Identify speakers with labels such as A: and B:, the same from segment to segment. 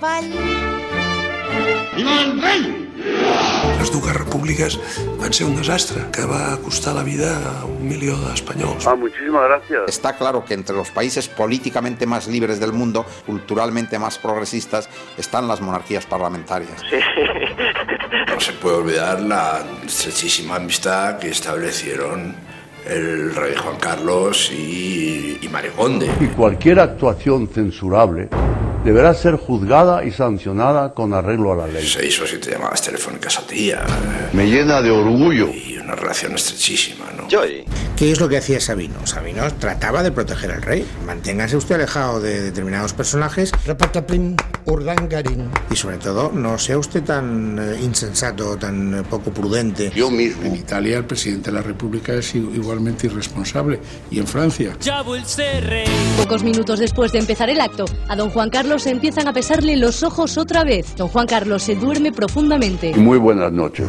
A: Val.
B: ¡Viva el rey!
C: Les dues repúbliques van ser un desastre que va costar la vida a un milió d'espanyols.
D: Ah, muchísimas gracias.
E: Está claro que entre los países políticamente más libres del mundo, culturalmente más progresistas, están las monarquías parlamentarias.
F: No se puede olvidar la estrechísima amistad que establecieron el rey Juan Carlos y, y Mareconde.
G: y cualquier actuación censurable deberá ser juzgada y sancionada con arreglo a la ley.
F: Seis o siete llamadas telefónicas al día
G: Me llena de orgullo.
F: y una relación estrechísima, ¿no?
D: Joy.
H: ¿Qué es lo que hacía Sabino? Sabino trataba de proteger al rey. Manténgase usted alejado de determinados personajes
I: Rapataplin, Urdangarín.
H: y sobre todo no sea usted tan eh, insensato, tan eh, poco prudente.
B: Yo mismo.
J: En Italia el presidente de la República es i- igualmente irresponsable y en Francia.
A: Pocos minutos después de empezar el acto, a don Juan Carlos empiezan a pesarle los ojos otra vez. Don Juan Carlos se duerme profundamente.
G: Y muy buenas noches.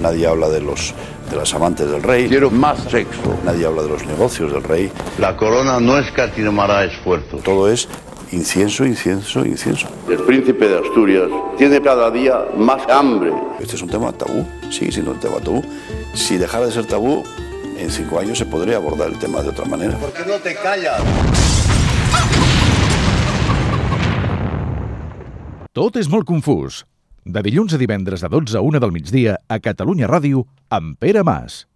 F: Nadie habla de los de las amantes del rey.
G: Quiero más sexo.
F: Nadie habla de los negocios del rey.
J: La corona no escatimará esfuerzo.
F: Todo es incienso, incienso, incienso.
J: El príncipe de Asturias tiene cada día más hambre.
F: Este es un tema tabú, sigue siendo un tema tabú. Si dejara de ser tabú, en cinco años se podría abordar el tema de otra manera.
J: ¿Por qué no te callas?
K: Tot és molt confús. De dilluns a divendres de 12 a 1 del migdia a Catalunya Ràdio amb Pere Mas.